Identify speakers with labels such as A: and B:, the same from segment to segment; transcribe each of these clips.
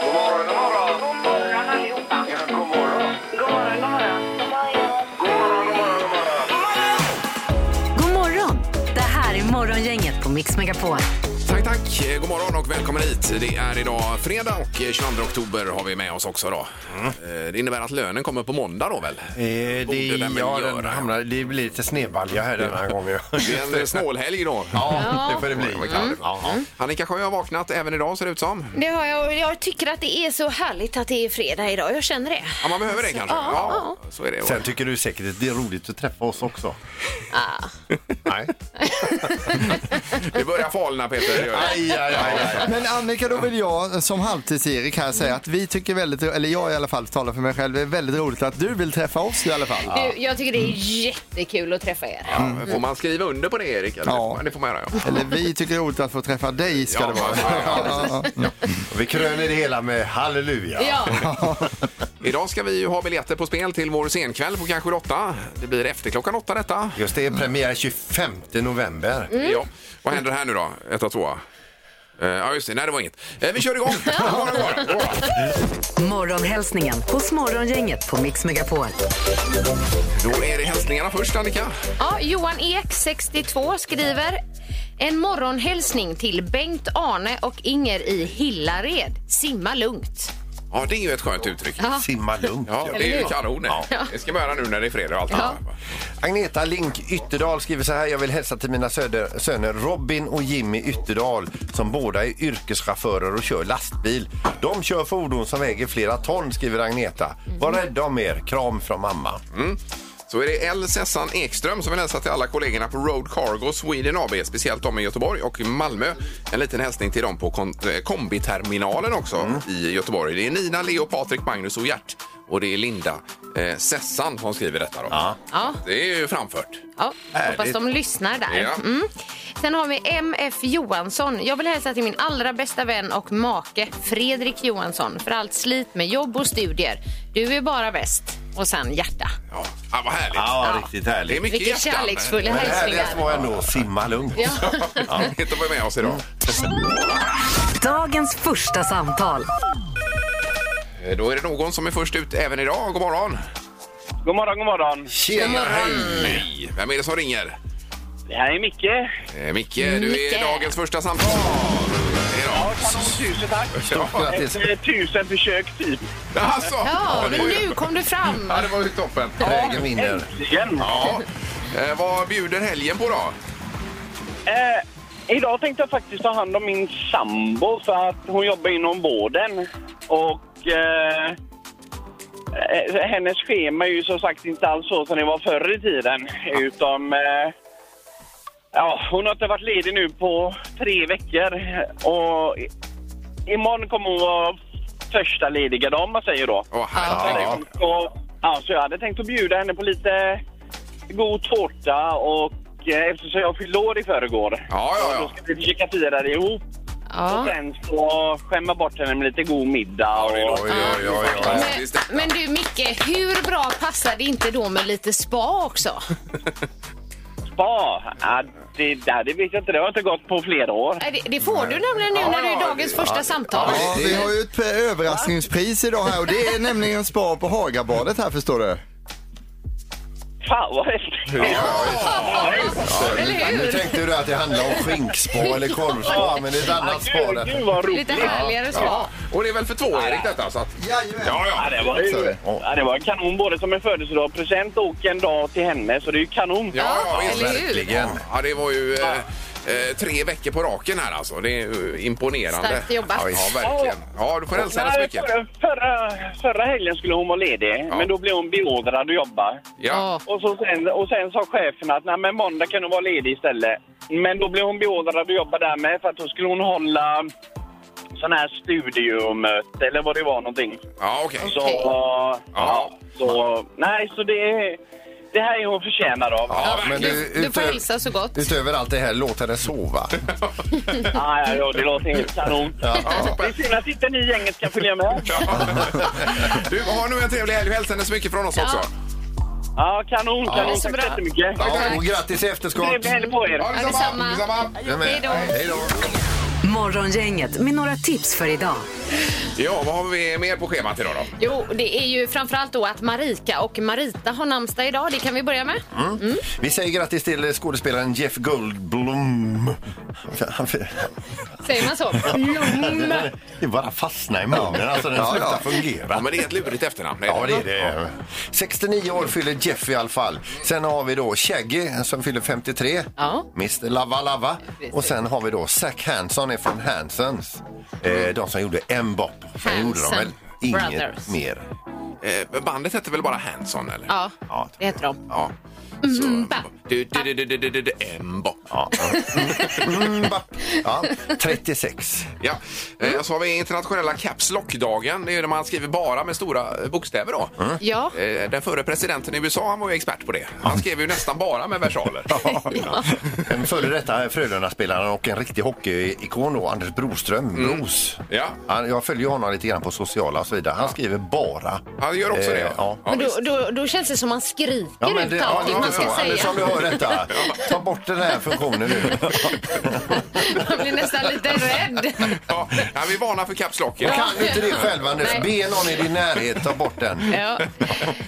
A: God morgon, god morgon.
B: God morgon allihopa.
A: Ja, god morgon.
B: God morgon, god morgon.
A: God morgon, god morgon, god morgon.
C: God morgon! Det här är Morgongänget på Mix Megapol.
D: Tack, tack. Eh, God morgon och välkommen hit. Det är idag fredag och eh, 22 oktober har vi med oss också. Då. Eh, Det innebär att lönen kommer på måndag då väl?
E: Eh,
D: Borde
E: det,
D: den väl
E: ja,
D: göra,
E: den
D: ja.
E: hamnar, det blir lite snedbalja här den här gången.
D: Det är en eh, snålhelg då.
E: Ja, det Mm. får det bli.
D: Ja, ja. Annika Sjö har vaknat även idag ser det ut som.
F: Det har jag och jag tycker att det är så härligt att det är fredag idag. Jag känner det.
D: Ja, man behöver det kanske. Ja,
F: ja,
D: så är det.
E: Sen tycker du säkert att det är roligt att träffa oss också. Nej.
D: Det börjar falna Peter. det gör det.
E: Aj, aj, aj, aj.
G: Men Annika, då vill jag som halvtids-Erik här säga att vi tycker väldigt, eller jag i alla fall talar för mig själv, det är väldigt roligt att du vill träffa oss i alla fall.
F: Du, jag tycker det är jättekul att träffa er.
D: Ja, får man skriva under på det Erik? Eller?
G: Ja.
D: Ja. Det får man göra. Ja.
G: Eller vi tycker det är roligt att få träffa dig ska
D: Ja,
G: det vara.
D: ja, ja,
E: Vi kröner det hela med halleluja.
F: Ja,
D: Idag ska vi ju ha biljetter på spel till vår scenkväll på kanske 8. Det blir efter klockan 8 detta.
E: Just det, premiär 25 november.
D: Ja. Vad händer här nu då? Ett av två. Eh, Ja, just det. Nej, det var inget. Eh, Vi kör igång! God morgon, god morgon. God morgon.
C: Morgonhälsningen hos Morgongänget på Mix Megapol.
D: Då är det hälsningarna först, Annika.
F: ja Johan Ek, 62, skriver en morgonhälsning till Bengt, Arne och Inger i Hillared. Simma lugnt.
D: Ja, det är ju ett skönt uttryck.
E: Simma lugnt.
D: Ja, det är ju kanon. det. Det ska man göra nu när det är fredag och allt annat.
E: Agneta Link Ytterdal skriver så här. Jag vill hälsa till mina söder, söner Robin och Jimmy Ytterdal som båda är yrkeschaufförer och kör lastbil. De kör fordon som väger flera ton, skriver Agneta. Var rädda om er. Kram från mamma.
D: Så är det L. Sessan Ekström som vill hälsa till alla kollegorna på Road Cargo Sweden AB, speciellt de i Göteborg och Malmö. En liten hälsning till dem på kon- eh, kombiterminalen också i Göteborg. Det är Nina, Leo, Patrik, Magnus och Gert. Och det är Linda eh, Sessan som skriver detta. Då.
F: Ja.
D: Det är ju framfört.
F: Ja, hoppas
E: Härligt.
F: de lyssnar där.
D: Ja.
F: Mm. Sen har vi MF Johansson. Jag vill hälsa till min allra bästa vän och make Fredrik Johansson för allt slit med jobb och studier. Du är bara bäst. Och sen hjärta.
D: Ja. Ja, vad härligt.
E: riktigt
D: Det är
E: härligt.
D: mycket
F: Vilken
D: hjärtan.
F: kärleksfull
E: Men det
F: hälsningar.
E: härligaste var ändå simma lugnt.
D: Inte att vara med oss idag.
C: Dagens första samtal.
D: Eh, Då är det någon som är först ut även idag. God morgon!
H: God morgon, god morgon.
E: Tjena, hej!
D: Nej. Vem är det som ringer?
H: Det här är Micke.
D: Eh, Micke, du är
F: Micke.
D: dagens första samtal.
H: Ja,
D: Idag.
H: kanon. Tusen tack.
D: Ja.
E: Grattis.
H: Efter Eh, tusen försök, typ.
D: Alltså,
F: Ja,
D: det
F: men
D: var ju-
F: nu kom du fram.
D: Ja, det var ju toppen.
E: Trägen vinner.
H: Äntligen!
D: Ja. Eh, vad bjuder helgen på då?
H: Eh, idag tänkte jag faktiskt ta hand om min sambo för att hon jobbar inom vården. Och eh, eh, hennes schema är ju som sagt inte alls så som det var förr i tiden. Utan eh, ja, hon har inte varit ledig nu på tre veckor. Och i- imorgon kommer hon vara första lediga dagen, man säger då.
D: Åh, herregud.
E: Ja.
H: Och, ja, så jag hade tänkt att bjuda henne på lite god tårta och eh, eftersom jag fyllde år i förrgår.
D: Ja, ja, ja.
H: Då ska vi försöka fira det ihop.
F: Ja.
H: Och sen så skämma bort henne med lite god middag.
D: Ja, det
H: Och,
D: låter ju
F: Men,
D: fantastiskt. detta.
F: men du Micke, hur bra passar det inte då med lite spa också?
H: spa. Ja, det, där, det vet jag inte. Det har jag inte gått på flera år.
F: Nej, Det, det får du nämligen nu
D: Ja,
F: när det
D: ja,
F: är dagens
D: ja,
F: första
D: ja.
F: samtal.
G: Ja, vi har ju ett eh, överraskningspris idag här och det är nämligen spa på Hagabadet här förstår du.
H: Fan vad häftigt.
F: Eller
E: Nu
F: hur?
E: tänkte du att det handlar om skinkspa eller korvspa, men det är ett annat spa.
H: Gud,
E: där.
H: gud vad roligt.
F: Lite härligare spa.
D: Ja, och det är väl för två, Erik, detta? Så att,
G: Jajamän.
D: ja, ja.
H: Ja, det var ju... Ja, det var kanon både som en födelsedagspresent och en dag till henne, så det är ju kanon.
D: Ja, ja, visst.
F: eller hur?
E: Verkligen.
D: Ja, det var ju eh, eh, tre veckor på raken här alltså. Det är ju imponerande.
F: Starkt jobbat.
D: Ja, verkligen. Ja, du får hälsa henne så
H: Nej,
D: mycket.
H: förra, förra, förra helgen skulle hon vara ledig, men då blev hon beordrad att jobba.
D: Ja.
H: Och, så sen, och sen sa chefen att Nej, men måndag kan hon vara ledig istället. Men då blev hon beordrad att jobba där med för att då skulle hon hålla sån här studiomöte eller vad det var någonting.
D: Ja, okej.
H: Så,
F: Okej.
H: ja, så, nej, så det, det här är hon förtjänad av.
D: Ja,
E: Ja,
D: verkligen.
E: men du,
F: Du, du får
E: utöver-
F: hälsa så gott.
E: Utöver allt det här, låt henne sova.
H: Ja, ja, ja, det låter helt kanon. Det är synd att inte ni i gänget kan följa med.
D: Du, har nu en trevlig helg. Hälsa henne så mycket från oss också.
H: Ja, kanon, kanon.
F: så
H: Tack
F: bra.
H: så jättemycket.
E: Ja, och grattis i efterskott!
H: Trevlig helg på er.
D: Ja,
F: detsamma.
D: detsamma.
E: Ja, men-
F: Hej då.
E: Hej då!
C: Morgongänget med några tips för idag.
D: Ja, vad har vi mer på schemat idag då?
F: Jo, det är ju framförallt då att Marika och Marita har namnsdag idag. Det kan vi börja med.
E: Mm. Vi säger grattis till skådespelaren Jeff Goldblum.
F: Säger man så?
E: Det bara fastnar i munnen, alltså den
G: Ja,
E: slutar
G: ja.
D: Ja,
E: fungera.
D: men det är ett lurigt efternamn.
E: Ja, det är det. 69 år fyller Jeff i alla fall. Sen har vi då Shaggy som fyller 53.
F: Ja.
E: Mr Lava Lava.
F: Precis.
E: Och sen har vi då Zack Hanson är från Hansons. Eh, de som gjorde Mbop. Sen gjorde de
F: Hanson
E: väl inget
F: Brothers.
E: mer.
D: Eh, bandet hette väl bara Hanson, eller?
F: Ja,
E: Ja.
F: det heter de.
D: Ja. Så, du, du, du, du, du, du, du, du, Mbop.
E: Ja. Mm, Mbop. ja. 36.
D: Ja. Eh, Så har vi internationella Caps Lock-dagen. Det är ju när man skriver bara med stora eh, bokstäver då.
F: Ja,
D: Eh, Den förre presidenten i USA han var ju expert på det. Han skrev ju nästan bara med versaler.
E: En före detta Frölunda-spelaren och en riktig hockeyikon då, Anders Broström. Bros.
D: Ja.
E: Han, jag följer ju honom lite grann på sociala och så vidare. Han skriver bara.
D: Han gör också
E: Eh,
D: det. ja.
E: ja.
D: Ja,
F: men då,
D: visst.
F: då, då känns det som man skriker
E: Ja, men
F: ut
E: det, ja,
F: allting
E: det var
F: man ska
E: så. Anders,
F: säga.
E: om du hör detta, ta bort den här funktionen nu.
F: Man blir nästan lite rädd.
D: Ja, ja, vi varnar för Caps Lock.
E: Jag kan du inte det själv, Anders.
F: Nej.
E: Be någon i din närhet ta bort den.
F: Ja.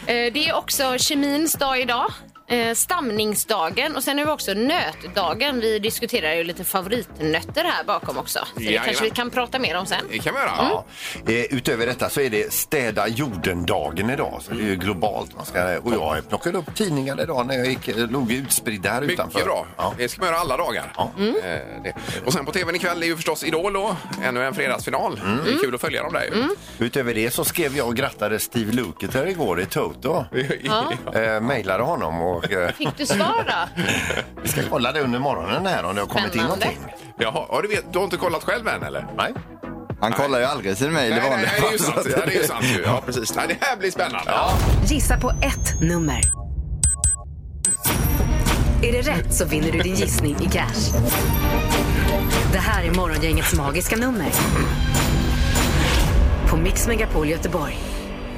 F: Eh, Det är också kemins dag idag. eh, Stamningsdagen och sen är det också nötdagen. Vi diskuterar ju lite favoritnötter här bakom också. Så det
D: Jajamän.
F: kanske vi kan prata mer om sen.
D: Det kan vi göra.
E: Ja. Eh, utöver detta så är det städa jorden-dagen idag. Så det är ju globalt. Man ska, och jag plockade upp tidningar idag när jag gick, låg utspridda här
D: Mycket
E: utanför.
D: bra.
E: Ja.
D: Det ska man göra alla dagar. Eh, det. Och sen på tvn ikväll är ju förstås Idol då. Ännu en fredagsfinal. Det är kul att följa dem där ju.
E: Utöver det så skrev jag och grattade Steve Lukather igår i Toto.
F: Ja.
E: Eh, mejlade honom och eh,
F: Fick du svar då?
E: vi ska kolla det under morgonen här om det har kommit in
F: Spännande.
E: någonting.
D: Jaha, ja, du, vet, du har inte kollat själv än eller?
E: Nej.
G: Han kollar ju aldrig sin mejl i
D: nej, nej,
G: vanliga
D: nej, det är
G: fall,
D: ju
G: så
D: sant.
G: att-
D: Ja, det är ju sant ju. Ja, precis. Nej, det här blir spännande. Ja.
C: Gissa på ett nummer. Är det rätt så vinner du din gissning i cash. Det här är Morgongängets magiska nummer. På Mix Megapol Göteborg.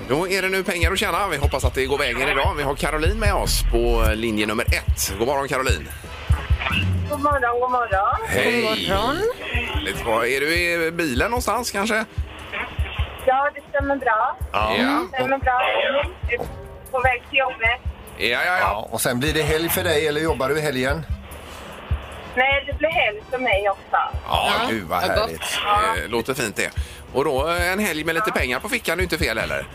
D: Då är det nu pengar att tjäna. Vi hoppas att det går vägen idag. Vi har Caroline med oss på linje nummer ett. God morgon Caroline.
B: God morgon, god morgon.
D: Hej.
F: Morgon.
D: Härligt. Vad- Är du i bilen någonstans kanske?
B: Ja, det stämmer bra.
D: Ja. Ja,
B: Det stämmer bra. Jag är På väg till jobbet.
D: ja, ja.
E: Ja, och sen blir det helg för dig, eller jobbar du i helgen?
B: Nej, det blir helg för mig också.
E: Ja,
F: Ja,
E: gud vad
F: vad gott.
E: härligt.
D: Eh, Låter fint det. Och då eh, en helg med lite pengar på fickan är ju inte fel heller.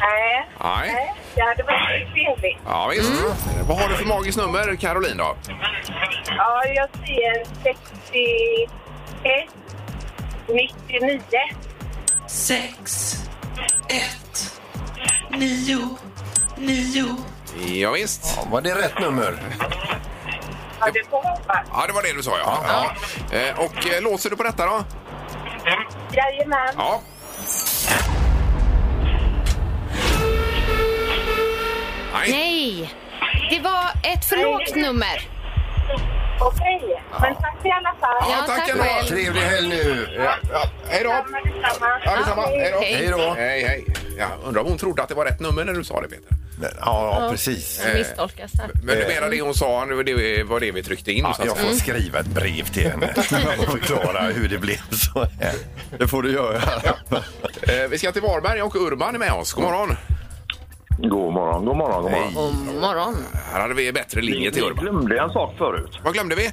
B: Nej.
D: Nej.
B: Det hade varit trevligt.
D: Ja, visst. Eh, Vad har du för magiskt nummer, Caroline? Då?
B: Ja, jag säger 61, 99.
I: sex, ett, nio, nio.
D: Ja, visst.
E: Ja, var det rätt nummer?
B: Ja, det får hoppas.
D: Ja, det var det du sa, ja. ja. Eh, Och eh, låser du på detta då?
B: Jajamän.
D: Ja. Nej.
F: Nej, det var ett för lågt nummer.
B: Okej. Men tack i alla fall.
D: Ja,
F: Ja,
D: tack
F: tack
D: ändå.
F: själv.
E: Trevlig helg nu!
D: Ja, ja. Hej då.
B: Detsamma, detsamma.
D: Ja, detsamma.
B: Ja, hej.
D: Hej då.
E: Hej
F: Hej.
E: då!
D: Hej, hej. Ja, undrar om hon trodde att det var rätt nummer när du sa det, Peter.
E: Ja, ja, precis.
F: Det misstolkas här.
D: Men du menar det hon sa, det var det- var det vi tryckte in?
E: Ja,
D: så att
E: jag
D: säga.
E: får skriva ett brev till henne och förklara hur det blev så här.
G: Det får du göra.
D: Eh, Vi ska till Varberg och Urban är med oss. God morgon.
J: God morgon, god morgon, god morgon.
F: God morgon.
D: Här hade vi bättre linje till
J: Ni
D: Urban.
J: glömde en sak förut.
D: Vad glömde vi?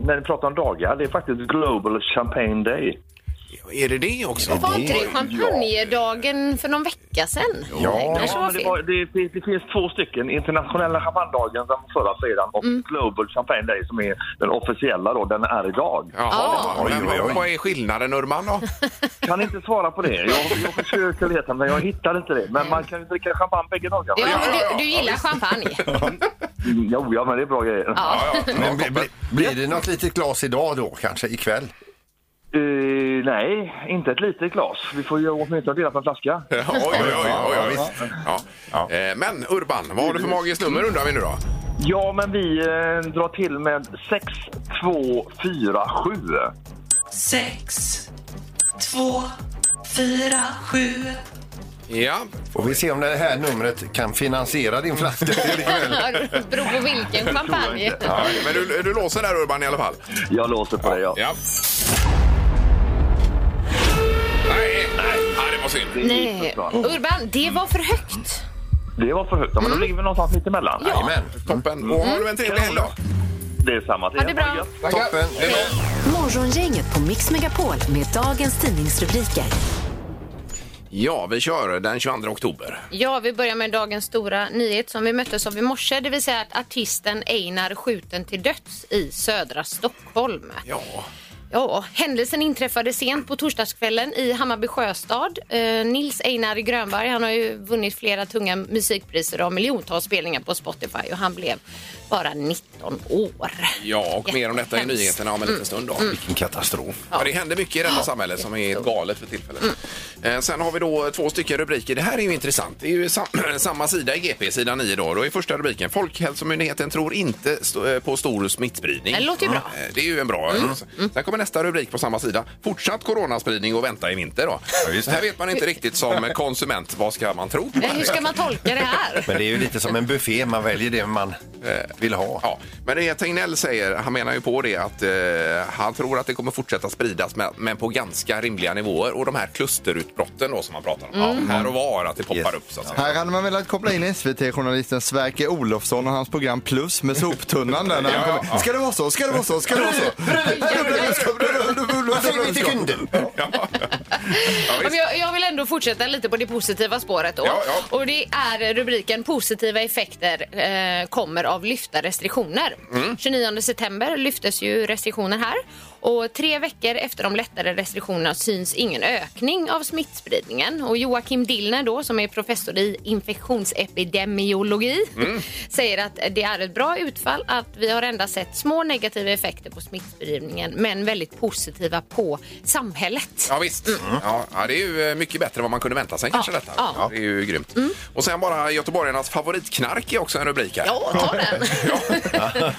J: När ni pratar om dagar, det är faktiskt Global Champagne Day.
D: Är det det också?
F: Var inte det champagnedagen för någon vecka sedan?
E: Ja.
F: Nej, det kanske var
J: men det, var,
F: fel.
J: det, det, det finns två stycken. Internationella champagnedagen den förra fredagen och
F: Mm.
J: Global Champagne Day som är den officiella då, den är idag.
D: Jaha,
E: Ja.
D: men
E: Oj, oj, oj.
D: vad är skillnaden Urban då?
J: Kan inte svara på det. Jag, jag försöker leta men jag hittar inte det. Men man kan ju dricka champagne bägge dagarna.
D: Ja,
F: Ja,
D: ja, ja.
F: men du, du gillar champagne.
J: Mm, Jo, ja men det är bra grejer.
F: Ja.
E: Men bli, bli, blir det något litet glas idag då, kanske ikväll?
J: Eh, nej, inte ett litet glas. Vi får ju åtminstone dela på en flaska.
D: Oj, oj, oj. oj,
E: Ja,
D: oj. Ja.
E: Ja.
D: Eh, Men Urban, vad har du för magiskt nummer undrar vi nu då?
J: Ja, men vi eh, drar till med 6247.
I: Sex, två, fyra, sju,
D: Ja, får
E: Och vi ser om det här numret kan finansiera din flaska till ikväll.
F: Det beror på vilken champagne.
D: Ja, men du, du låser där Urban i alla fall?
J: Jag låser på det, ja.
D: Ja. Nej, nej. Ja, det var synd.
F: Nej, Urban, det var för högt.
J: Det var för högt. Ja, men
F: Mm.
J: då ligger vi någonstans mitt emellan.
D: Jajamän, toppen. Och har du en trevlig helg då.
J: Det är samma.
F: Ha det bra.
E: Toppen.
C: Morgongänget på Mix Megapol med dagens tidningsrubriker.
D: Ja, vi kör den 22 oktober.
F: Ja, vi börjar med dagens stora nyhet som vi möttes av i morse, det vill säga att artisten Einar är skjuten till döds i södra Stockholm.
D: Ja,
F: Ja, händelsen inträffade sent på torsdagskvällen i Hammarby Sjöstad. Eh, Nils Einar Grönberg, han har ju vunnit flera tunga musikpriser och har miljontals spelningar på Spotify och han blev bara 19 år.
D: ja och mer om detta i
F: Jättehemskt.
D: nyheterna om en liten stund. Då.
E: Vilken katastrof.
D: Ja, det händer mycket i detta samhälle som är galet för tillfället.
F: Mm.
D: Eh, sen har vi då två stycken rubriker. Det här är ju intressant. Det är ju sam samma sida i GP, sida 9 då. Då är första rubriken Folkhälsomyndigheten tror inte st- eh, på stor smittspridning.
F: Det låter ju bra. Mm.
D: Eh, Det är ju en bra. Mm. Sen kommer nästa rubrik på samma sida. Fortsatt coronaspridning och vänta i vinter då. Så här vet man inte riktigt som konsument. Vad ska man tro?
F: Men Eh, hur ska man tolka det här?
E: Men det är ju lite som en buffé. Man väljer det man vill ha.
D: Eh, Ja, men det Tegnell säger, han menar ju på det att eh, han tror att det kommer fortsätta spridas men, men på ganska rimliga nivåer och de här klusterutbrotten då som man pratar om. Ja, här och var att det poppar
E: Yes.
D: upp så att säga.
G: Här hade man velat koppla in SVT-journalisten Sverker Olofsson och hans program Plus med soptunnan där när han
D: Ja,
G: kommer. Ska det vara så? Ska det vara så? Ska det vara så?
E: Vad säger vi till kunden?
D: Ja.
F: Ja, men
D: visst.
F: jag, jag vill ändå fortsätta lite på det positiva spåret. Då.
D: Ja, ja.
F: Och det är rubriken Positiva effekter eh, kommer av lyfta restriktioner.
D: Mm.
F: 29 september lyftes ju restriktioner här. Och tre veckor efter de lättare restriktionerna syns ingen ökning av smittspridningen. Och Joakim Dillner då, som är professor i infektionsepidemiologi,
D: Mm.
F: säger att det är ett bra utfall att vi har endast sett små negativa effekter på smittspridningen, men väldigt positiva på samhället.
D: Ja, visst. Ja, ja, det är ju eh, mycket bättre än vad man kunde vänta sig kanske detta.
F: ja.
D: Det är ju grymt. Och sen bara göteborgarnas favoritknark är också en rubrik här.
F: Ja, ta den.
D: Ja.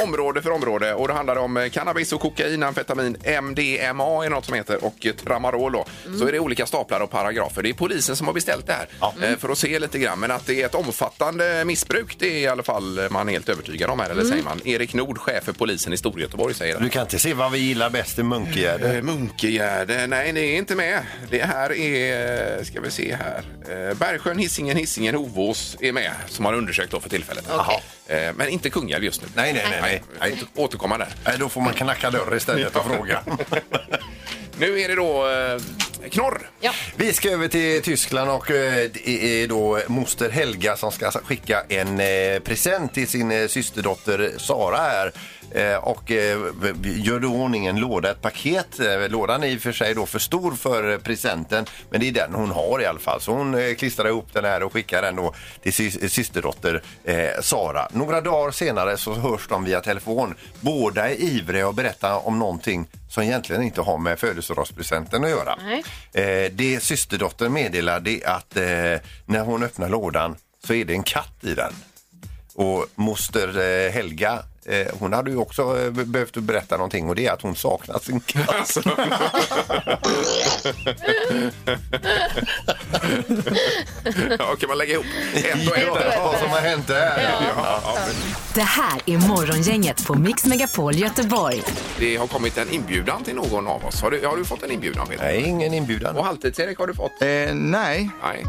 D: område för område. Och det handlar om eh, cannabis och kokain, amfetamin, MDMA är något som heter och eh, tramadol. Då. Så är det olika staplar och paragrafer. Det är polisen som har beställt det här eh, för att se lite grann. Men att det är ett omfattande missbruk, det är i alla fall eh, man helt övertygad om här. Eller säger man? Erik Nord, chef för polisen i Storgöteborg, säger det.
E: Du kan inte se vad vi gillar bäst i Munkegärde.
D: Eh, Munkegärde, nej ni är inte med. Det här är, eh, ska vi se här, Eh, Bergsjön, Hisingen, Hisingen, Hovås är med som har undersökt då för tillfället.
F: Okej.
D: Eh, Men inte Kungälv just nu.
E: Nej, nej, nej. nej.
D: Nej, återkomma där.
E: Nej, då får man knacka dörr istället och fråga.
D: Nu är det då eh, knorr.
F: Ja.
E: Vi ska över till Tyskland och eh, det är då moster Helga som ska skicka en eh, present till sin eh, systerdotter Sara här. Eh, Och eh, v- v- gör då i ordning en låda, ett paket. Eh, Lådan är i och för sig då för stor för eh, presenten men det är den hon har i alla fall. Så hon eh, klistrar ihop den här och skickar den då till sy- systerdotter eh, Sara. Några dagar senare så hörs de via telefon. Båda är ivriga att berätta om någonting som egentligen inte har med födelsedagspresenten att göra.
F: Nej.
E: Eh, det systerdottern meddelar det är att eh, när hon öppnar lådan så är det en katt i den. Och moster eh, Helga eh, hon hade ju också eh, be- behövt berätta någonting och det är att hon saknar sin katt.
D: Alltså. ja, kan man lägga ihop ett och ett? där?
E: vad som har hänt där.
D: Ja, ja.
C: Det här är Morgongänget på Mix Megapol Göteborg.
D: Det har kommit en inbjudan till någon av oss. Har du, har du fått en inbjudan? Peter?
E: Nej, ingen inbjudan.
D: Och Halvtids-Erik har du fått?
G: Eh, nej.
D: Nej.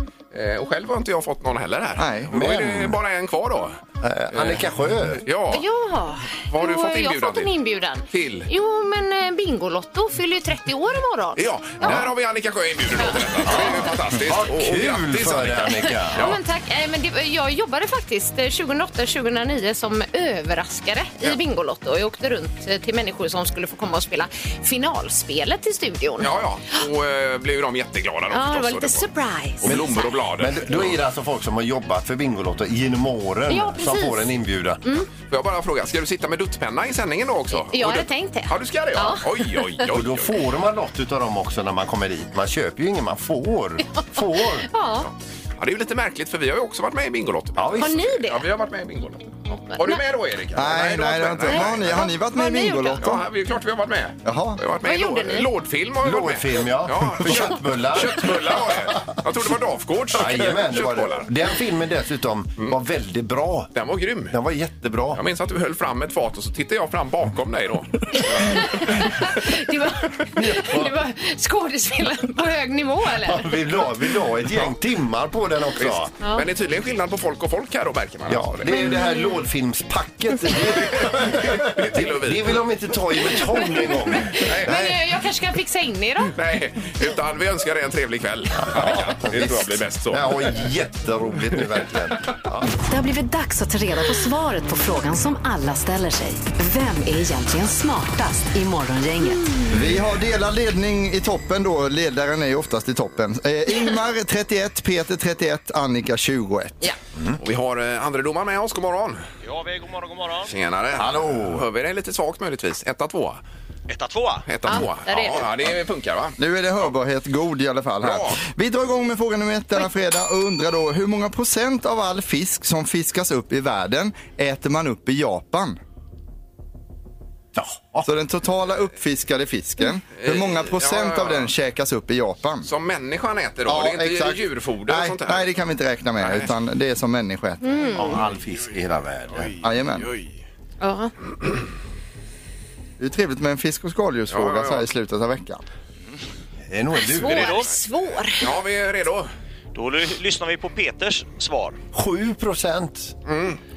D: Eh, Och själv har inte jag fått någon heller här.
G: Nej,
D: men... Då är det
E: men-
D: bara en kvar då.
E: Eh, Annika Sjö.
D: Ja.
F: Ja,
D: Vad har du
F: Jo,
D: fått
F: jag har
D: inbjudan
F: fått en
D: till?
F: inbjudan.
D: Till?
F: Jo, men eh, Bingolotto fyller ju 30 år imorgon.
D: Ja, där har vi Annika Sjö inbjuden åt detta. Det är ju fantastiskt.
E: Vad
D: Och- och
E: kul
D: grattis,
E: för dig Annika.
F: Ja, men tack. Eh, men det, jag jobbade faktiskt 2008-2009 som överraskare i Bingolotto. Jag åkte runt eh, till människor som skulle få komma och spela finalspelet i studion.
D: Ja, ja. Och eh, blev ju de jätteglada då
F: Ja, det
D: förstås.
F: var
D: Och
F: lite
D: Och
F: surprise.
D: blommor och blad.
E: Men då är det alltså folk som har jobbat för Bingolotto genom åren
F: Ja,
E: som
F: precis. Mm.
E: får en inbjudan.
D: Får jag bara fråga, ska du sitta med duttpenna i sändningen då också?
F: Jag
D: Och
F: hade
D: du-
F: tänkt det.
D: Ja, du ska det ja.
F: Ja.
D: Oj, oj, oj.
E: Och då
D: oj.
E: får man något utav dem också när man kommer dit. Man köper ju inget, man får. Får.
F: Ja.
D: Ja, det är ju lite märkligt för vi har ju också varit med i Bingolotto.
E: Ja, visst.
F: Har ni det?
D: Ja, vi har varit med i Bingolotto. Ja.
F: toppen.
D: Var du med då Erik?
G: Nej,
D: du
G: nej, det var
D: varit
G: inte. Vad har ni, har ni varit med i
F: Vad har ni gjort då?
G: Bingolotto?
D: Ja, vi är klart vi har varit med.
G: Jaha.
D: Vi har varit med
F: Vad
D: i
F: gjorde
D: låd-
F: ni?
D: Lådfilm har vi varit med.
E: Lådfilm, ja.
D: Ja,
E: För köttbullar.
D: Köttbullar var det. Jag trodde det var Dafgårds.
E: Jajamän, det var det.
D: Köttbullar.
E: Den filmen dessutom var väldigt bra.
D: Den var grym.
E: Den var jättebra.
D: Jag minns att du höll fram ett fat och så tittade jag fram bakom dig då.
F: Det var, det var skådespelare på hög nivå eller?
E: Vi la, vi la ett gäng timmar på den också.
D: Visst. Men det är tydligen skillnad på folk och folk här då märker man.
E: Ja, det är ju det här lådfilmspacket. Det-
D: Till och vid.
E: Det vill de inte ta i betong en gång.
F: Men eh, jag kanske kan fixa in er då?
D: Nej, utan vi önskar dig en trevlig kväll. Ja, det tror jag blir bäst så.
E: Det här var jätteroligt nu verkligen.
C: Det har blivit dags att ta reda på svaret på frågan som alla ställer sig. Vem är egentligen smartast i Morgongänget?
G: Vi har delad ledning i toppen då. Ledaren är ju oftast i toppen. Eh, Ingmar 31, Peter 31, Annika 21.
D: Och vi har eh, andre domaren med oss. God morgon.
J: Ja, vi god morgon, god morgon.
D: Tjenare.
E: Hallå.
D: Hör vi dig lite svagt möjligtvis? Etta, tvåa?
J: Etta, tvåa.
D: Etta,
F: Ja,
D: tvåa.
F: där är
D: ja, ja, det funkar va?
G: Nu är det hörbarhet god i alla fall här.
D: Bra.
G: Vi drar igång med fråga nummer ett denna fredag och undrar då hur många procent av all fisk som fiskas upp i världen äter man upp i Japan? Så den totala uppfiskade fisken, hur många procent
D: ja, ja.
G: av den käkas upp i Japan?
D: Som människan äter då? det är inte djurfoder och
G: nej,
D: sånt där?
G: nej, det kan vi inte räkna med
D: Nej.
G: utan det är som människoätare.
F: Mm.
E: Av all fisk i hela världen.
G: Jajamän.
D: Oj.
F: Ja.
G: Det är trevligt med en fisk och skaldjursfråga
D: Ja, ja, ja.
G: så här i slutet av veckan.
E: Det är nog du.
F: Svår, svår.
D: Ja, vi är redo.
J: Då ly- lyssnar vi på Peters svar.
E: 7 procent.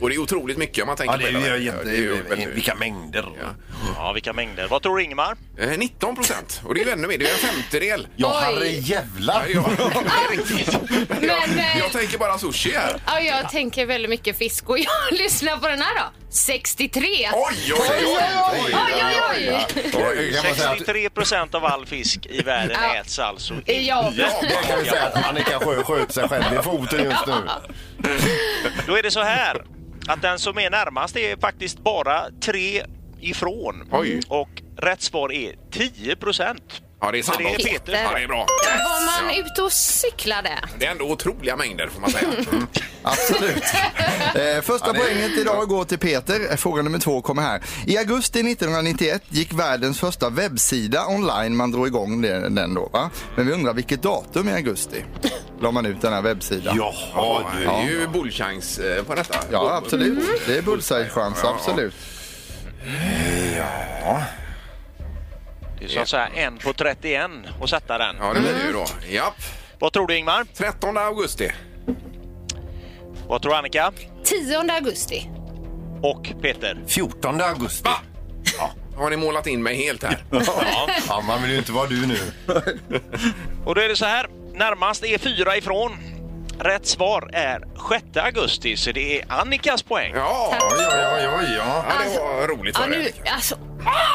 D: Och det är otroligt mycket om man tänker
E: Ja, det är
D: på
E: ju
D: Ja,
E: jätte...
D: det är ju väldigt-
E: Vilka mängder.
J: Ja, vilka mängder. Vad tror Ingmar?
D: Eh, 19 procent. Och det är ju ännu mer. Det är en femtedel.
E: Ja,
F: Oj.
E: herrejävlar.
D: Ja, det är riktigt.
F: Men,
D: jag,
F: eh,
D: jag tänker bara sushi här.
F: Ja, jag tänker väldigt mycket fisk och jag lyssnar på den här då. 63!
D: Oj, oj, oj!
F: Oj, oj, oj!
D: oj.
E: Kan man säga att-
J: 63 procent av all fisk i världen
F: Ja.
J: äts alltså
F: I Japan.
E: Det kan vi säga att Annika Sjö sköt sig själv i foten just nu.
J: Då är det så här att den som är närmast är faktiskt bara tre ifrån.
D: Oj.
J: Och rätt svar är 10 procent.
D: Ja, det är sant.
J: Det är
D: också.
J: Peter.
D: Ja, det är bra.
F: Var man ute och cyklade?
D: Det är ändå otroliga mängder får man säga.
F: Mm.
D: Mm.
G: Absolut. Eh, första poänget idag går till Peter. Eh, Fråga nummer två kommer här. I augusti 1991 gick världens första webbsida online. Man drog igång det- den då. Va? Men vi undrar vilket datum i augusti la man ut den här webbsidan?
D: Ja, det är ju bullchans eh, på detta.
G: Ja, absolut. Det är bullseye-chans, absolut.
J: Det är så att säga en på 31 och sätta den.
D: Ja, det blir det
F: Mm.
D: ju då. Japp.
J: Vad tror du Ingmar?
D: 13 augusti.
J: Vad tror Annika?
F: 10 augusti.
J: Och Peter?
E: 14 augusti.
D: Har ni målat in mig helt här?
E: Ja, man vill ju inte vara du nu.
J: Och då är det så här. Närmast är fyra ifrån. Rätt svar är 6 augusti, så det är Annikas poäng.
D: Ja,
E: Oj, oj, oj, oj, ja.
D: ja det var roligt
F: Ja,
D: för
F: nu,
D: dig.
F: alltså,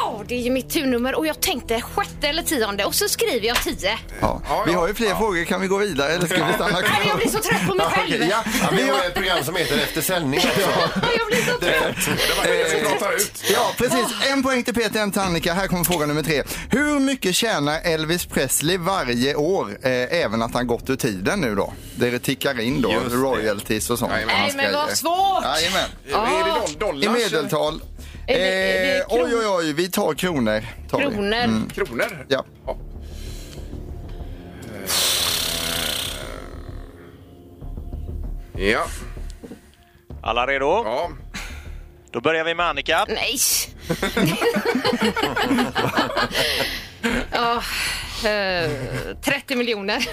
F: åh, det är ju mitt turnummer och jag tänkte sjätte eller tionde och så skriver jag tio.
G: Ja. Vi har ju fler frågor. Kan vi gå vidare eller ska vi stanna
F: Nej, men jag
G: kvar?
F: blir så trött på mig själv.
G: Okej, ja.
E: Ja, Vi har ett program som heter Efter sändning också.
F: Ja, Jag blir så trött.
D: Det var det som pratar ut.
G: Ja, precis. En poäng till Peter, en till Annika. Här kommer fråga nummer tre. Hur mycket tjänar Elvis Presley varje år, eh, även att han gått ur tiden nu då? Det tickar in då,
E: Just det.
G: royalties och sånt.
D: Jajamän.
F: Nej, men vad svårt!
G: Jajamän.
D: Är det doll-
G: I
D: dollars?
G: medeltal.
F: Är det- är det
G: Eh,
F: kron-
G: oj, oj, oj, vi tar kronor. Tar vi.
F: Kronor.
D: Kronor?
G: Ja.
D: Eh. Ja.
J: Alla redo?
D: ja.
J: Då börjar vi med Annika.
F: Nej! Ja, eh, 30 miljoner.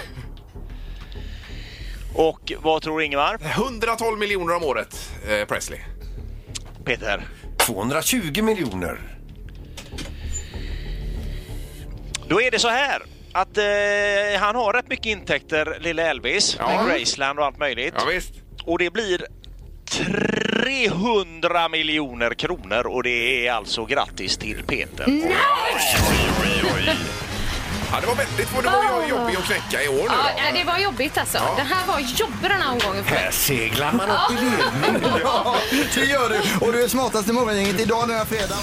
J: Och vad tror Ingvar?
D: 112 miljoner om året, eh, Presley.
J: Peter?
E: 220 miljoner.
J: Då är det så här att eh, han har rätt mycket intäkter, lille Elvis, med Graceland och allt möjligt.
D: Ja, visst.
J: Och det blir 300 miljoner kronor och det är alltså grattis till Peter.
D: Ja, det var väldigt för det var ju jobbigt att knäcka i år nu.
F: Ah. Ja,
D: Då.
F: nej, det var jobbigt alltså. Det här var jobbigt den här omgången för mig.
E: Här seglar man upp i ledning.
G: Ja, det gör du. Och du är smartast i morgongänget idag denna fredag.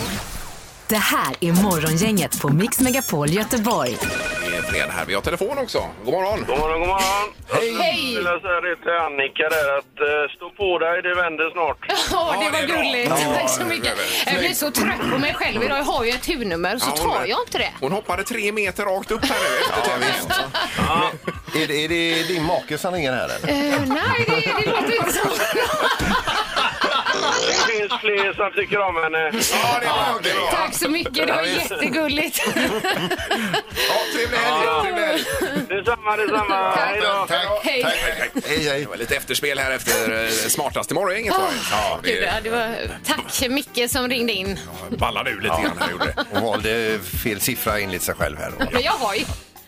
C: Det här är Morgongänget på Mix Megapol Göteborg.
D: eh, fler här. Vi har telefon också. God morgon!
A: God morgon, god morgon.
F: Hej!
A: Jag vill säga det till Annika där att eh, stå på dig, det vänder snart.
F: Ja, det
D: det är
F: var
D: bra.
F: gulligt. Tack så mycket. Jag blir så trött på mig själv idag. Jag har ju ett turnummer, så
D: Ja, hon-
F: tar jag inte det.
D: Hon hoppade tre meter rakt upp här nu efter tävlingen.
E: Är det, är det din make som ringer här eller?
F: Eh, nej, det, det låter inte så.
A: Det finns fler som tycker om henne.
D: Ja, det var det. Var.
F: Tack så mycket. Det var jättegulligt.
D: Ja, trevlig helg! Trevlig helg.
A: Detsamma, detsamma. Hej då.
F: Hej.
E: Hej, hej.
D: Det var lite efterspel här efter eh, smartast i morgon inget var det. Ja,
F: Ah. Gud, ja,
D: det
F: det var... Tack Micke som ringde in.
D: ballade ur lite grann. här, gjorde det.
E: Hon valde fel siffra enligt sig själv här.
F: Men jag har ju...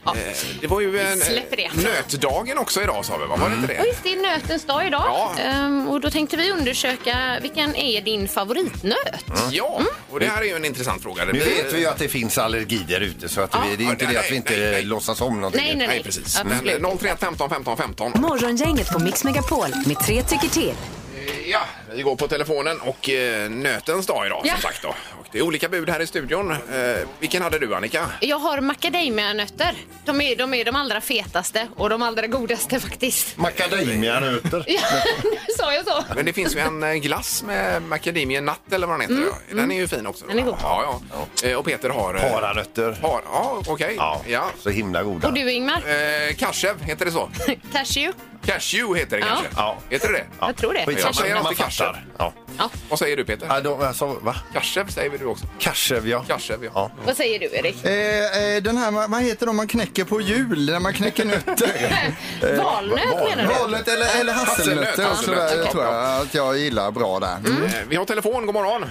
F: Ja.
D: Det var ju en
F: Släpper det. Mm.
D: eh, nötdagen också idag sa vi, va? var det inte
F: Och
D: det?
F: just det är nötens dag idag.
D: Ja.
F: Ehm, och då tänkte vi undersöka vilken är din favoritnöt?
D: Ja,
F: Mm.
D: och det här är ju en intressant fråga. Det
E: Nu
D: blir-
E: vet vi ju att det finns allergi där ute så att vi, det är ju inte
D: Ja,
E: det att vi
D: nej,
E: inte
D: nej, nej.
E: låtsas om någonting.
F: Nej, nej, nej.
D: Nej, precis. Men eh,
F: Absolut.
D: 031 15 15 15.
C: Morgongänget på Mix Megapol med tre tycker till.
D: Eh, Ja, vi går på telefonen och eh, nötens dag idag
F: Ja.
D: som sagt då. Och det är olika bud här i studion. Eh, vilken hade du Annika?
F: Jag har macadamianötter. De är, de är de allra fetaste och de allra godaste faktiskt.
E: Macadamianötter.
F: Ja, nu sa jag så.
D: Men det finns ju en eh, glass med macadamia natt eller vad den heter. ja. Den är ju fin också.
F: Mm, Den är god.
D: Ja, ja. Eh, Och Peter har... eh,
E: Paranötter.
D: Par, ja, okej.
E: Ja,
D: Ja.
E: så himla goda.
F: Och du Ingmar?
D: Eh, Kashev, heter det så?
F: Cashew?
D: Cashew heter det
F: Ja.
D: kanske?
E: Ja.
D: Heter det det
F: Jag tror det.
E: Skitsamma,
D: Jag säger
E: man
D: alltid
E: fattar.
D: kanske.
E: Ja.
F: Ja.
D: Vad säger du Peter?
E: Ja, de, alltså, va?
D: Kashev säger vi du också.
E: Kashev, ja.
D: Kashev, ja.
E: Ja.
F: Vad säger du Erik?
G: Eh, eh, den här, vad vad heter de man knäcker på jul när man knäcker nötter?
F: Valnöt menar du?
G: Valet eller, eller hasselnötter och
D: Hasselnöt,
G: sådär
D: ja.
G: tror jag att jag gillar bra där. Mm.
D: Eh, Vi har telefon, god morgon.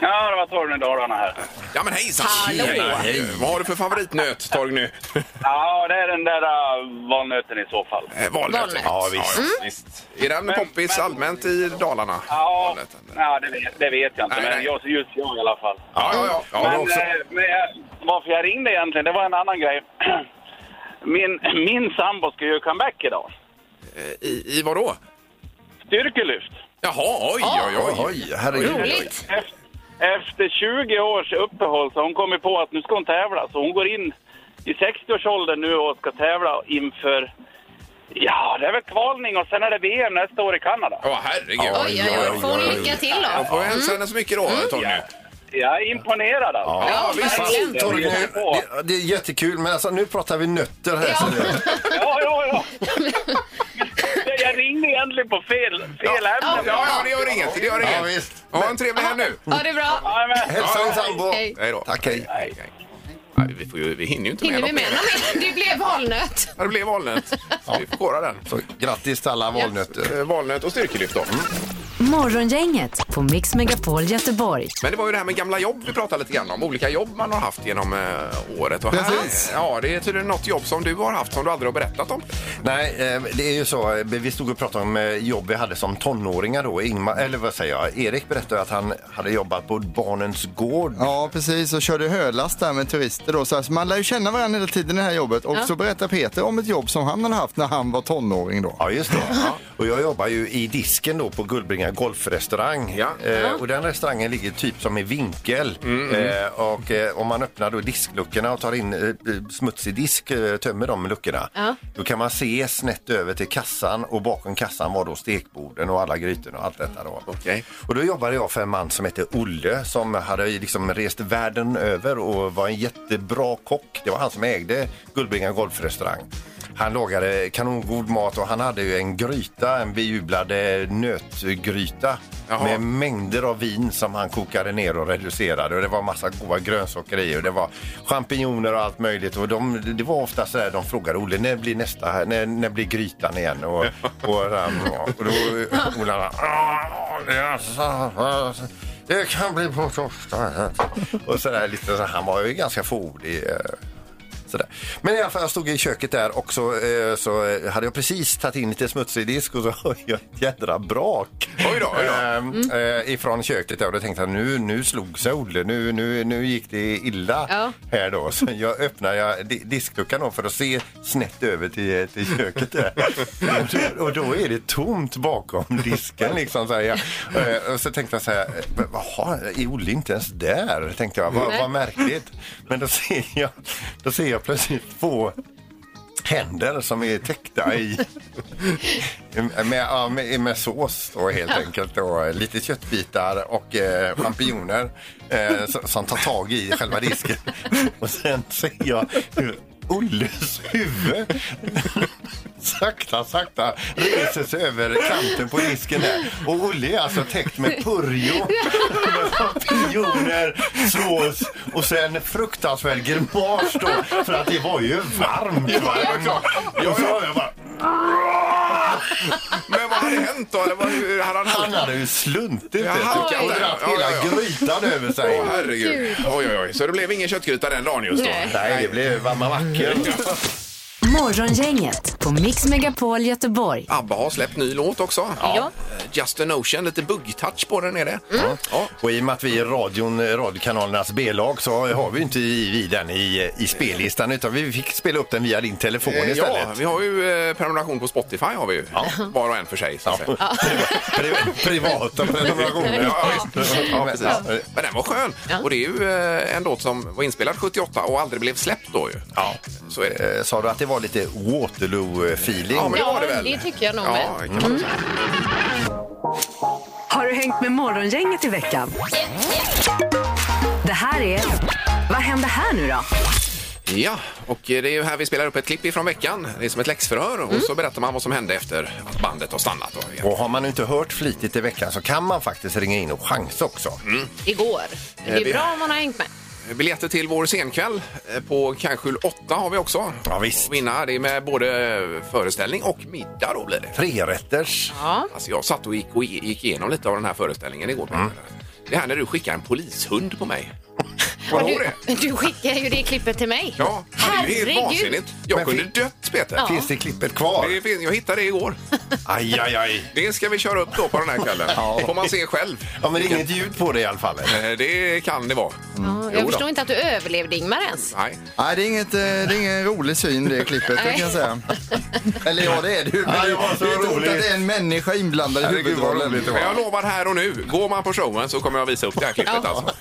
H: Ja, det var Torgny Dalarna här.
D: Ja men hejsan!
F: Hallå.
D: Tjena. Eh, Vad har du för favoritnöt Torgny?
H: Ja, det är den där äh, valnöten i så fall.
D: Eh, Valnöt.
F: Valnöt.
E: Ja, visst.
D: visst. Är den
H: Men-
D: poppis
H: men-
D: allmänt i Dalarna?
H: Ja,
D: Valnöten?
H: ja det, vet, det vet jag inte,
D: Nej, nej.
H: men jag, just jag i alla fall.
D: Ja, ja, ja. ja
H: men,
D: men också.
H: eh, men jag, varför jag ringde egentligen, det var en annan grej. Min, min sambo ska göra comeback idag.
D: I, I vadå?
H: Styrkelyft.
D: Jaha, oj, oj, oj.
E: Oj, herregud.
F: Roligt.
H: Efter, efter 20 års uppehåll så har hon kommit på att nu ska hon tävla. Så hon går in i 60-årsåldern nu och ska tävla inför, ja det är väl kvalning och sen är det VM nästa år i Kanada.
D: Ja, herregud.
F: Oj, oj, oj. Får hon lycka till
D: Jag
F: då? Mm.
D: får hälsa henne så mycket då, Torgny.
H: Jag är imponerad alltså.
F: Ja, verkligen.
H: Jag
E: Torgny,
H: blir på.
E: det, det är jättekul, men alltså, nu pratar vi nötter här. Så det,
H: Ja, ja, ja. Jag ringde egentligen på fel, fel
D: Ja,
H: ämne.
D: ja, det gör inget. Det gör
E: ja,
D: inget.
E: visst.
D: Ha en trevlig helg nu.
F: Ja, det är bra.
H: Ja, men-
E: Hälsa din sambo.
F: Hej.
D: Hej då.
E: Tack, hej.
D: Nej, nej. Nej, vi, får ju, vi hinner ju inte
F: Hinner
D: med
F: vi med
D: något.
F: någon? Det blev valnöt.
D: Ja, Det blev valnöt. Så Vi får kora den.
E: Så, grattis till alla valnötter.
D: Eh, Valnöt och styrkelyft då.
C: Morgongänget på Mix Megapol Göteborg.
D: Men det var ju det här med gamla jobb vi pratade lite grann om. Olika jobb man har haft genom eh, året. Och här,
G: Precis.
D: ja, det är tydligen något jobb som du har haft som du aldrig har berättat om.
E: Nej, eh, det är ju så. eh, Vi stod och pratade om eh, jobb vi hade som tonåringar då. Ingmar, eller vad säger jag? Erik berättade att han hade jobbat på Barnens gård.
G: Ja, precis. Och körde hölast där med turister då. Så här, så man lär ju känna varandra hela tiden i det här jobbet. Och så berättar Peter om ett jobb som han hade haft när han var tonåring då.
E: Ja, just det. Och jag jobbar ju i disken då på Gullbringa golfrestaurang.
D: Ja. Mm,
E: Eh, och den restaurangen ligger typ som i vinkel. Eh, och eh, om man öppnar då diskluckorna och tar in eh, eh, smutsig disk, eh, tömmer de luckorna.
F: Ja.
E: Då kan man se snett över till kassan och bakom kassan var då stekborden och alla grytorna och allt detta då.
D: Okej.
E: Och då jobbade jag för en man som hette Olle som hade ju liksom rest världen över och var en jättebra kock. Det var han som ägde Gullbringa golfrestaurang. Han lagade kanongod mat och han hade ju en gryta, en bejublad eh, nötgryta
D: Jaha.
E: med mängder av vin som han kokade ner och reducerade. Och det var massa goda grönsaker i och det var champinjoner och allt möjligt. Och de, det var ofta så där de frågade Olle, när blir nästa, här? när, när blir grytan igen? Och, och, um, ja. och då Olle, han, "Ah, yes, yes." det kan bli på torsdag. Och så där, lite, så, han var ju ganska fåordig. eh, Sådär. Men i alla fall, jag stod i köket där och så, eh, så eh, hade jag precis tagit in lite smutsig disk och så hör jag ett jädra brak.
D: Oj då, oj då.
E: Ehm, eh, ifrån köket där och då tänkte jag nu, nu slog sig Olle, nu, nu, nu gick det illa
F: Ja.
E: här då. Så jag öppnade jag di- diskluckan då för att se snett över till, till köket där. och då är det tomt bakom disken liksom. Så här, ja. Eh, och så tänkte jag så här, eh, jaha, är Olle inte ens där? Tänkte jag, vad, vad märkligt. Men då ser jag, då ser jag jag plötsligt två händer som är täckta i med, ja, med, med sås då, helt enkelt och lite köttbitar och eh, champinjoner eh, som- som tar tag i själva disken. Och sen ser jag hur Olles huvud sakta, sakta reser sig över kanten på disken där. Och Olle är alltså täckt med purjo, med champinjoner, sås och sen fruktansvärd grimas då, för att det var ju varmt. va? Det var klart. Och så hör jag bara,
D: Men vad hade hänt då? Eller vad, hur hade han
E: han
D: halkat?
E: hade ju sluntit vet du,
D: Ja,
E: och
D: halkat där.
E: dragit
D: Ja,
E: hela
D: ja, ja.
E: grytan över sig.
D: Åh herregud. Oj, oj, oj. Så det blev ingen köttgryta den dagen just då?
F: Nej.
E: Nej, det blev mamma vacker.
C: Morgongänget på Mix Megapol Göteborg.
D: ABBA har släppt ny låt också. Eh,
F: Ja.
D: Just an Ocean, lite buggtouch på den är det.
E: Mm.
D: Ja.
E: Och i och med att vi är radion, eh, radiokanalernas B-lag så har vi ju inte i, i den i, eh, i spellistan utan vi fick spela upp den via din telefon
D: Eh,
E: istället.
D: Ja, vi har ju eh, prenumeration på Spotify har vi ju. Var och en för sig. Så att säga.
E: Pri- privata prenumerationer.
D: Ja, visst. Ja,
E: Men-
D: precis. Men den var skön. Och det är ju eh, en låt som var inspelad 78 och aldrig blev släppt då ju. Ja. Så är det.
E: Eh, Sa du att det var lite Waterloo-feeling?
D: Ja, men det
F: Ja,
D: var det väl?
F: det tycker jag nog med.
D: Ja, Mm. det kan man säga.
C: Har du hängt med Morgongänget i veckan? Det här är... Vad händer här nu då?
D: ja, och eh, det är ju här vi spelar upp ett klipp ifrån veckan. Det är som ett läxförhör och så berättar man vad som hände efter att bandet har stannat. Då. igen.
E: Och har man inte hört flitigt i veckan så kan man faktiskt ringa in och chansa också.
D: Mm.
F: Igår. Men det
D: Eh, vi-
F: är bra om man har hängt med.
D: Biljetter till vår scenkväll eh, på Kanskjul 8 har vi också.
E: Ja, visst.
D: Och Vinna det är med både föreställning och middag då blir det.
E: Trerätters.
F: Ja.
D: Alltså jag satt och gick, och gick igenom lite av den här föreställningen igår. Det här när du skickar en polishund på mig. Kommer du ihåg det?
F: Du, du skickar ju det klippet till mig.
D: Ja, men det är ju helt
F: Herregud.
D: vansinnigt. Jag
E: Men
D: kunde
E: fin-
D: dött Peter.
E: Finns det klippet kvar?
D: Det fin- Jag hittade det igår.
E: Aj, aj, aj.
D: Det ska vi köra upp då på den här kvällen.
E: Ja.
D: får man se själv.
E: Ja, men det är inget ljud på det i alla fall.
D: Eh, Det kan det vara.
F: Ja,
D: Jo
F: jag
D: då.
F: förstår inte att du överlevde Ingmar ens.
D: Nej.
G: Nej, det är, inget, eh, det är ingen rolig syn det klippet, det kan jag säga. Eller ja, det är det ju. Men
E: Ja, det
G: det,
E: var så
G: är inte ont
E: roligt.
G: att det är en människa inblandad i
E: Herregud, vad
G: huvudrollen.
E: roligt det var.
D: Men jag lovar här och nu, går man på showen så kommer jag visa upp det här klippet
F: Ja.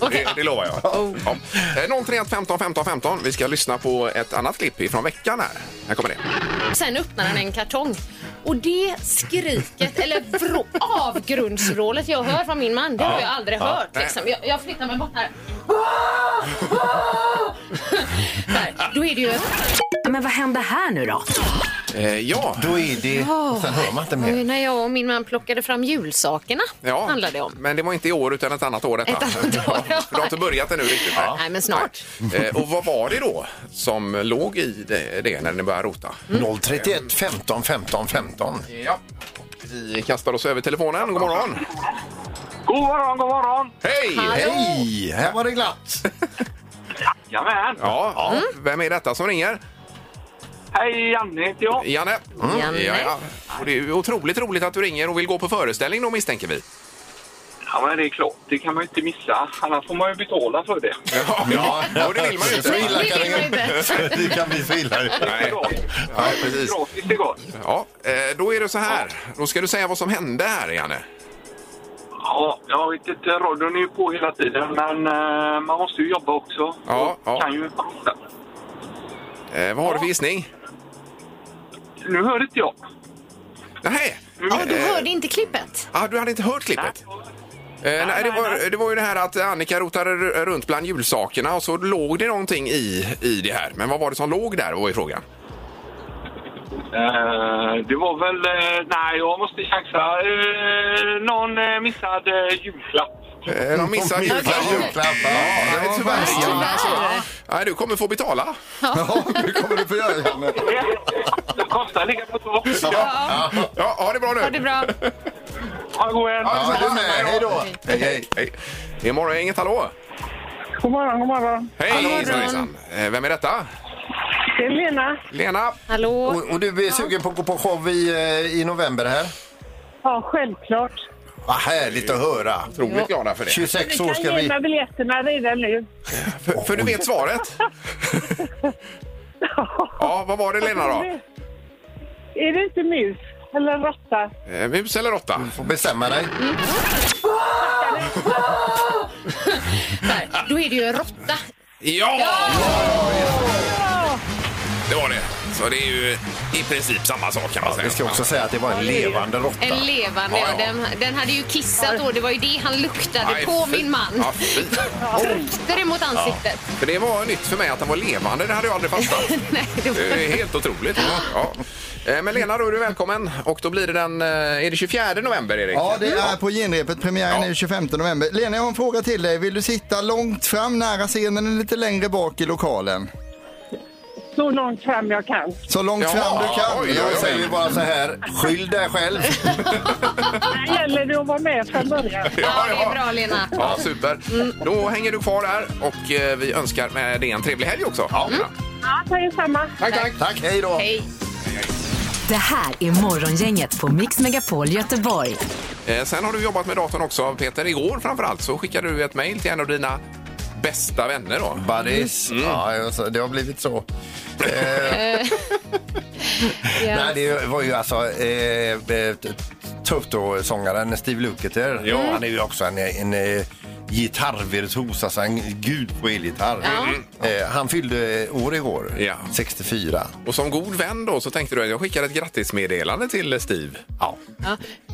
F: Oh.
D: alltså. Det, det lovar jag. Ja. Eh, 031 15 15 15. Vi ska lyssna på ett annat klipp ifrån veckan här. Här kommer det.
F: Sen öppnar han en kartong. Och det skriket, eller vrå, avgrundsvrålet jag hör från min man, det har jag aldrig hört. Liksom. Jag, jag flyttar mig bort här. Där, då är det ju...
C: Men vad händer här nu då?
D: Eh, Ja,
E: Då är det... och Sen hör man inte mer.
F: Oj, när jag och min man plockade fram julsakerna
D: ja.
F: handlade det om.
D: men det var inte i år utan ett annat år detta.
F: Ett annat år.
D: Ja, för du har inte börjat ännu riktigt.
F: Nej, men snart.
D: Nej. Eh, Och vad var det då som låg i det, det när ni började rota?
F: Mm.
E: 031 15 15 15.
D: Ja. Vi kastar oss över telefonen. God morgon!
H: God morgon, god morgon!
D: Hej!
E: Hej! Här var det glatt.
H: Jajamän!
D: Ja, ja. vem är detta som ringer?
H: Hej, Janne heter jag.
D: Janne.
F: Janne.
D: Ja, ja. Och det är ju otroligt roligt att du ringer och vill gå på föreställning då misstänker vi.
H: Ja, men det är klart. Det kan man ju inte missa. Annars får man ju betala för det.
D: Ja, ja. och det vill man ju
E: Så
D: inte.
E: illa kan
F: Det vill man inte.
E: det, det kan bli så illa.
D: Nej.
H: Ja, precis. Gratis det går.
D: Ja, eh, då är det så här. Då ska du säga vad som hände här, Janne.
H: Ja, jag vet inte. Radion är ju på hela tiden, men eh, man måste ju jobba också.
D: Ja, ja.
H: Kan ju...
D: Eh, vad har du för gissning?
H: Nu hörde inte jag.
D: Nej.
F: Ja, du hörde inte klippet.
D: Ah, du hade inte hört klippet? Eh, nej, det var, det var ju det här att Annika rotade r- runt bland julsakerna och så låg det någonting i, i det här. Men vad var det som låg där var ju frågan.
H: Eh, det var väl... eh, nej, jag måste chansa. Eh, någon eh, missad eh, julklapp.
D: Eh, de missade julklappen.
E: julklappar.
G: Det var värst, Janne.
D: Nej, du kommer få betala.
G: Ja, det kommer du få göra, Janne.
H: Det kostar lika på två.
D: Ja, ha det bra nu.
F: Ha det bra.
H: Ha en god en.
E: Ja, du med. Hej då. Hej, hej.
D: Hej. Det är Morgongänget, hallå!
B: God morgon, god morgon.
D: Hej!
F: Hallå.
D: hejsan, hejsan. Eh, Vem är detta?
B: Det är Lena.
D: Lena?
F: Hallå?
E: Och, och du är sugen på att gå på show i, eh, i november här?
B: Ja, självklart.
E: Vad härligt att höra.
D: Otroligt glada för det.
E: 26
B: Du
E: år
B: kan
E: ska
B: ge
E: vi...
B: mig biljetterna redan nu.
D: För, för du vet svaret? ja, vad var det Lena då?
B: Är det inte mus eller råtta?
D: Eh, Mus eller råtta?
E: Får bestämma dig.
F: Där, då är det ju en råtta.
D: Ja! Så det är ju i princip samma sak kan man säga.
E: Vi ska också säga att det var en levande råtta.
F: En levande,
D: Ja,
F: ja,
D: ja.
F: Den, den hade ju kissat då. Det var ju det han luktade
D: Nej,
F: på
D: fy.
F: min man.
D: Ja, fy.
F: Tryckte det mot ansiktet.
D: För det var nytt för mig att den var levande. Det hade jag aldrig fattat.
F: Nej, det var...
D: Det är helt otroligt. Ja. Eh, Men Lena, då är du välkommen. Och då blir det den... eh, Är det 24 november, Erik?
G: Ja, det är på genrepet. Premiären är 25 november. Lena, jag har en fråga till dig. Vill du sitta långt fram nära scenen eller lite längre bak i lokalen?
B: Så långt fram jag kan.
G: Så långt
D: Ja,
G: fram du kan.
D: oj,
E: Jag
D: oj,
E: säger bara så här, skyll dig själv.
B: Det gäller det att vara med från början.
F: Ja, det är bra, Lena.
D: Ja, super. Då hänger du kvar här och eh, vi önskar med det en trevlig helg också. Mm.
B: Ja, det är samma.
D: Tack, tack.
E: Tack, hej då.
F: Hej.
C: Det här är Morgongänget på Mix Megapol Göteborg.
D: Eh, Sen har du jobbat med datorn också, Peter. Igår framförallt så skickade du ett mejl till en av dina bästa vänner. Då.
E: Buddies. Ja, alltså, det har blivit så. Eh, Nej, det var ju alltså eh, eh, Toto-sångaren Steve Lukather. Han är ju också en, en, eh, gitarrvirtuos, alltså en gud på elgitarr. Eh, han fyllde år igår,
D: Ja.
E: 64.
D: Och som god vän då så tänkte du att jag skickar ett grattismeddelande till Steve.
E: Ja.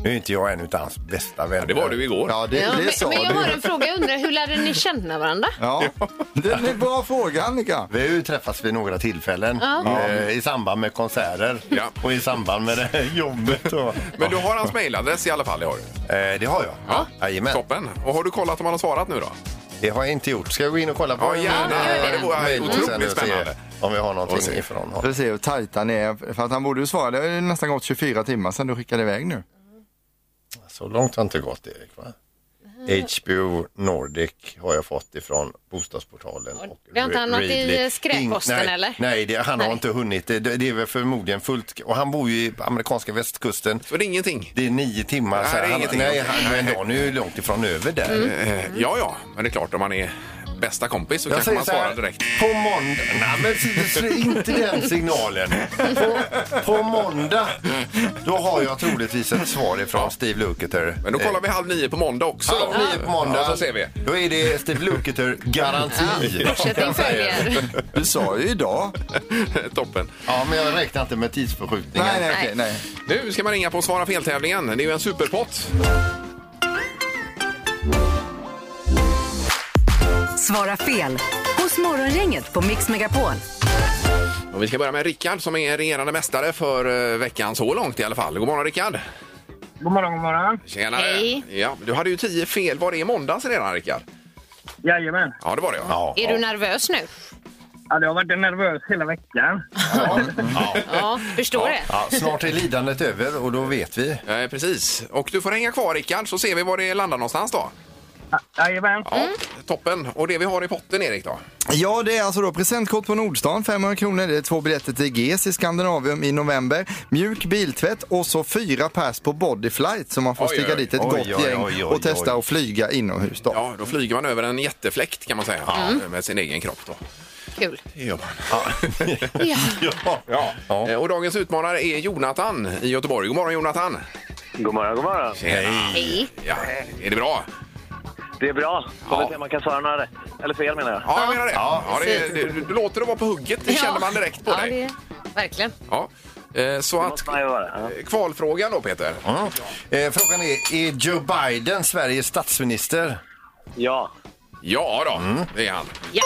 E: Nu är inte jag en utav hans bästa vänner.
D: Det var du igår.
G: Ja, det,
F: Ja,
G: det
F: men,
G: sa
F: men jag
G: du.
F: har en fråga. Jag undrar, hur lärde ni känna varandra?
G: Ja. Det är en bra fråga, Annika.
E: Vi har ju träffats vid några tillfällen eh, i samband med konserter
D: Ja.
E: och i samband med det här jobbet. Och,
D: Men du har hans mejladress i alla fall? det Har du.
E: eh, det har jag. Jajamän.
D: Toppen. Och har du kollat om han har svarat nu då?
E: Det har jag inte gjort. Ska jag gå in och kolla på
D: Ja, gärna.
E: eh,
D: Ja, det vore
E: mejlen
D: otroligt
E: sen och se
D: spännande.
E: Om vi har
D: Och se.
E: någonting ifrån
G: För
E: honom.
G: att se hur tajt han är. För att han borde ju svara. Det har ju nästan gått 24 timmar sedan du skickade iväg nu.
E: Så långt har inte gått Erik va?
F: Mm.
E: HBO Nordic har jag fått ifrån bostadsportalen. Och
F: Det har inte hamnat i
E: Readly.
F: skräpposten,
E: Ing- nej,
F: eller?
E: Nej, det, han har
F: Nej.
E: inte hunnit. Det, det är väl förmodligen fullt. Och han bor ju i amerikanska västkusten.
D: För ingenting?
E: Det är nio timmar.
D: Nej,
E: så
D: det är
E: han,
D: ingenting.
E: nej, han, men han är ju långt ifrån över där.
D: Eh, ja, ja. Men det är klart, om man är bästa kompis så
E: Jag
D: kanske
E: säger
D: man
E: så här,
D: svarar direkt.
E: på måndag... Nej, men s- s- inte den signalen. På, på måndag, då har jag troligtvis ett svar ifrån Steve Lukather. Eh,
D: Men då kollar vi halv nio på måndag också. då.
E: Halv nio på måndag.
D: Ja, så ser vi.
E: Då är det Steve Lukather-garanti.
F: Fortsättning följer.
G: Du sa ju idag.
D: Toppen.
E: Ja, men jag räknar inte med tidsförskjutningen.
G: Nej, nej, okej, nej.
D: Nu ska man ringa på Svara fel-tävlingen. Det är ju en superpott.
C: Svara fel hos Morgongänget på Mix Megapol.
D: Och vi ska börja med Rickard som är regerande mästare för eh, veckan så långt i alla fall. God morgon Rickard!
H: God morgon, god morgon.
D: Tjenare!
F: Hej.
D: Ja, du hade ju tio fel. Var det i måndags redan Rickard?
H: Jajamän.
D: Ja, det var det. Ja.
F: Är du nervös nu?
H: Ja, jag har varit nervös hela veckan.
F: Ja, förstår det.
E: Ja, snart är lidandet över och då vet vi.
D: Eh, precis. Och du får hänga kvar Rickard så ser vi var det landar någonstans då.
H: Jajamän.
D: Ja, Toppen! Och det vi har i potten Erik då?
G: Ja, det är alltså då presentkort på Nordstan, 500 kronor. Det är två biljetter till GES i Skandinavium i november. Mjuk biltvätt och så fyra pers på Bodyflight så man får
D: Oj,
G: sticka
D: oj,
G: dit ett
E: oj,
G: gott
E: oj, oj,
G: gäng
E: oj,
G: och
E: oj.
G: testa att flyga inomhus då.
D: Ja, då flyger man över en jättefläkt kan man säga Mm. med sin egen kropp då.
F: Kul.
D: Det gör man.
F: Ja.
E: Ja.
D: Ja. Eh, Och dagens utmanare är Jonathan i Göteborg. God morgon Jonathan!
J: God morgon, god morgon.
D: Hej!
F: Hej.
D: Ja, är det bra?
J: Det är bra.
D: Ja.
J: Får vi se om man kan svara några rätt. Eller fel menar jag.
D: Ja, jag menar det. Ja, det, det, du låter det vara på hugget, det känner man direkt på
F: ja,
D: dig.
F: Det, verkligen.
D: Ja. Eh, Så
J: Det
D: att,
J: måste man ju vara. Ja.
D: kvalfrågan då Peter.
E: Mm. Eh, frågan är, är Joe Biden Sveriges statsminister?
J: ja.
D: Ja då,
E: Mm.
D: det är han.
F: Ja.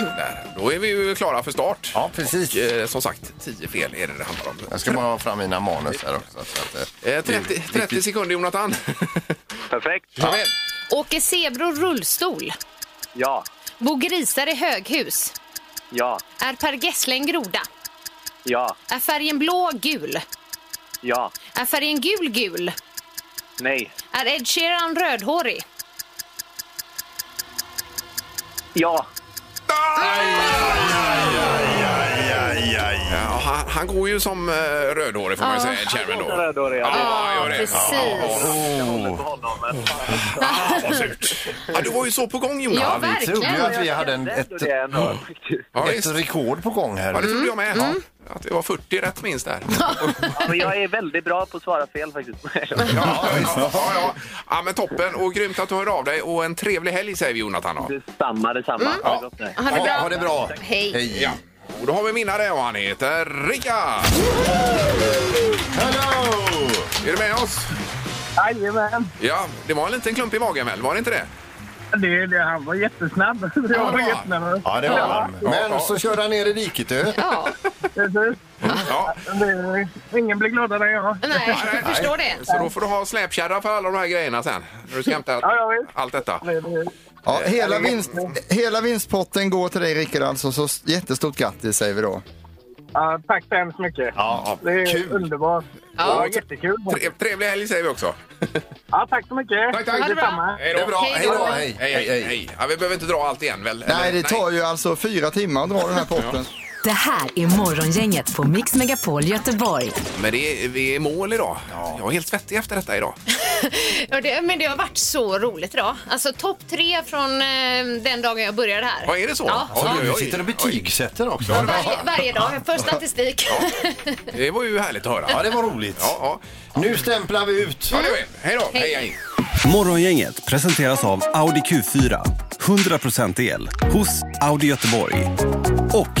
D: Där. Då är vi ju klara för start.
E: Ja, precis.
D: Och, eh, som sagt, 10 fel är det det handlar om.
E: Jag ska bara ha fram mina manus här också. Så att, eh,
D: Eh, 30, 30 sekunder Jonathan.
J: Perfekt.
D: Ja.
F: Åker zebror rullstol?
J: Ja.
F: Bor grisar i höghus?
J: Ja.
F: Är Per Gessle en groda?
J: Ja.
F: Är färgen blå gul?
J: Ja.
F: Är färgen gul gul?
J: Nej.
F: Är Ed Sheeran rödhårig?
J: Ja.
D: Ah! Ja, han, han går ju som eh, rödhårig får man ju
F: Ja.
D: säga, Ed Sheeran då.
J: Han går som rödhårig, ja.
D: ja. han gör det.
F: precis.
J: På honom. Men fan,
D: Ah, vad surt. Ja, du var ju så på gång Jonas.
F: Ja,
E: vi trodde ju
F: verkligen.
E: att vi hade en,
J: det är
E: ett,
J: ändå det ändå.
D: Ja,
E: ett
D: visst.
E: rekord på gång
D: Ja, det
E: här.
D: trodde jag med. Ja, att det var 40 rätt minst där.
J: Ja, men jag är väldigt bra på att svara fel faktiskt.
D: Ja, ja, ja. ja, men toppen. Och grymt att du hörde av dig. Och en trevlig helg säger vi, Jonathan. då.
H: Mm.
J: Detsamma, detsamma. Ha det gott nu.
F: Ha det
E: Ja,
F: bra.
E: ha det bra.
F: Hej.
E: Hej.
D: Ja. Och då har vi en vinnare och han heter Rickard!
E: Hello!
D: Är du med oss?
J: Jajamän.
D: Ja, det var en liten klump i magen väl, var det inte det?
J: Det, det, han var jättesnabb. Jag
D: bra.
J: var jättenervös.
E: Ja, det var han.
D: Ja.
E: Men så körde han ner i diket du.
F: Ja,
J: Precis.
D: Ja.
J: Det, ingen blir gladare än jag.
F: nej, jag förstår det.
D: Så då får du ha släpkärra för alla de här grejerna sen. När du ska hämta
J: Ja, ja, visst.
D: allt detta.
J: Det, det,
G: Ja, hela, vinst, hela vinstpotten går till dig Rickard alltså, så jättestort grattis säger vi då.
J: ja, tack så hemskt mycket.
E: Ja,
J: Det är
E: kul.
J: underbart.
F: Ja.
J: Det var jättekul.
D: Trev- Trevlig helg säger vi också.
J: Ja, tack så mycket.
D: Tack, tack.
F: Ha det bra.
J: Detsamma.
D: Hej då.
E: Bra, hej då. Hej,
D: Hej, hej, hej. Ja, vi behöver inte dra allt igen väl?
G: Nej, det tar ju alltså fyra timmar att dra den här potten.
K: Det här är Morgongänget på Mix Megapol Göteborg.
D: Men det är, vi är mål idag. Jag är helt svettig efter detta idag.
F: Ja, det, men det har varit så roligt idag. Alltså topp tre från eh, den dagen jag började här.
D: Vad är det så?
F: Ja.
D: Oj,
E: Så
D: oj,
E: du
D: oj.
E: sitter och betygsätter också.
F: Varje, varje dag, för statistik.
D: Oj. Det var ju härligt att höra.
E: Ja, det var roligt.
D: Ja, ja.
E: Nu stämplar vi ut.
D: ja det var det. Hej då. Hej, hej.
L: Morgongänget presenteras av Audi Q4. 100% el hos Audi Göteborg. Och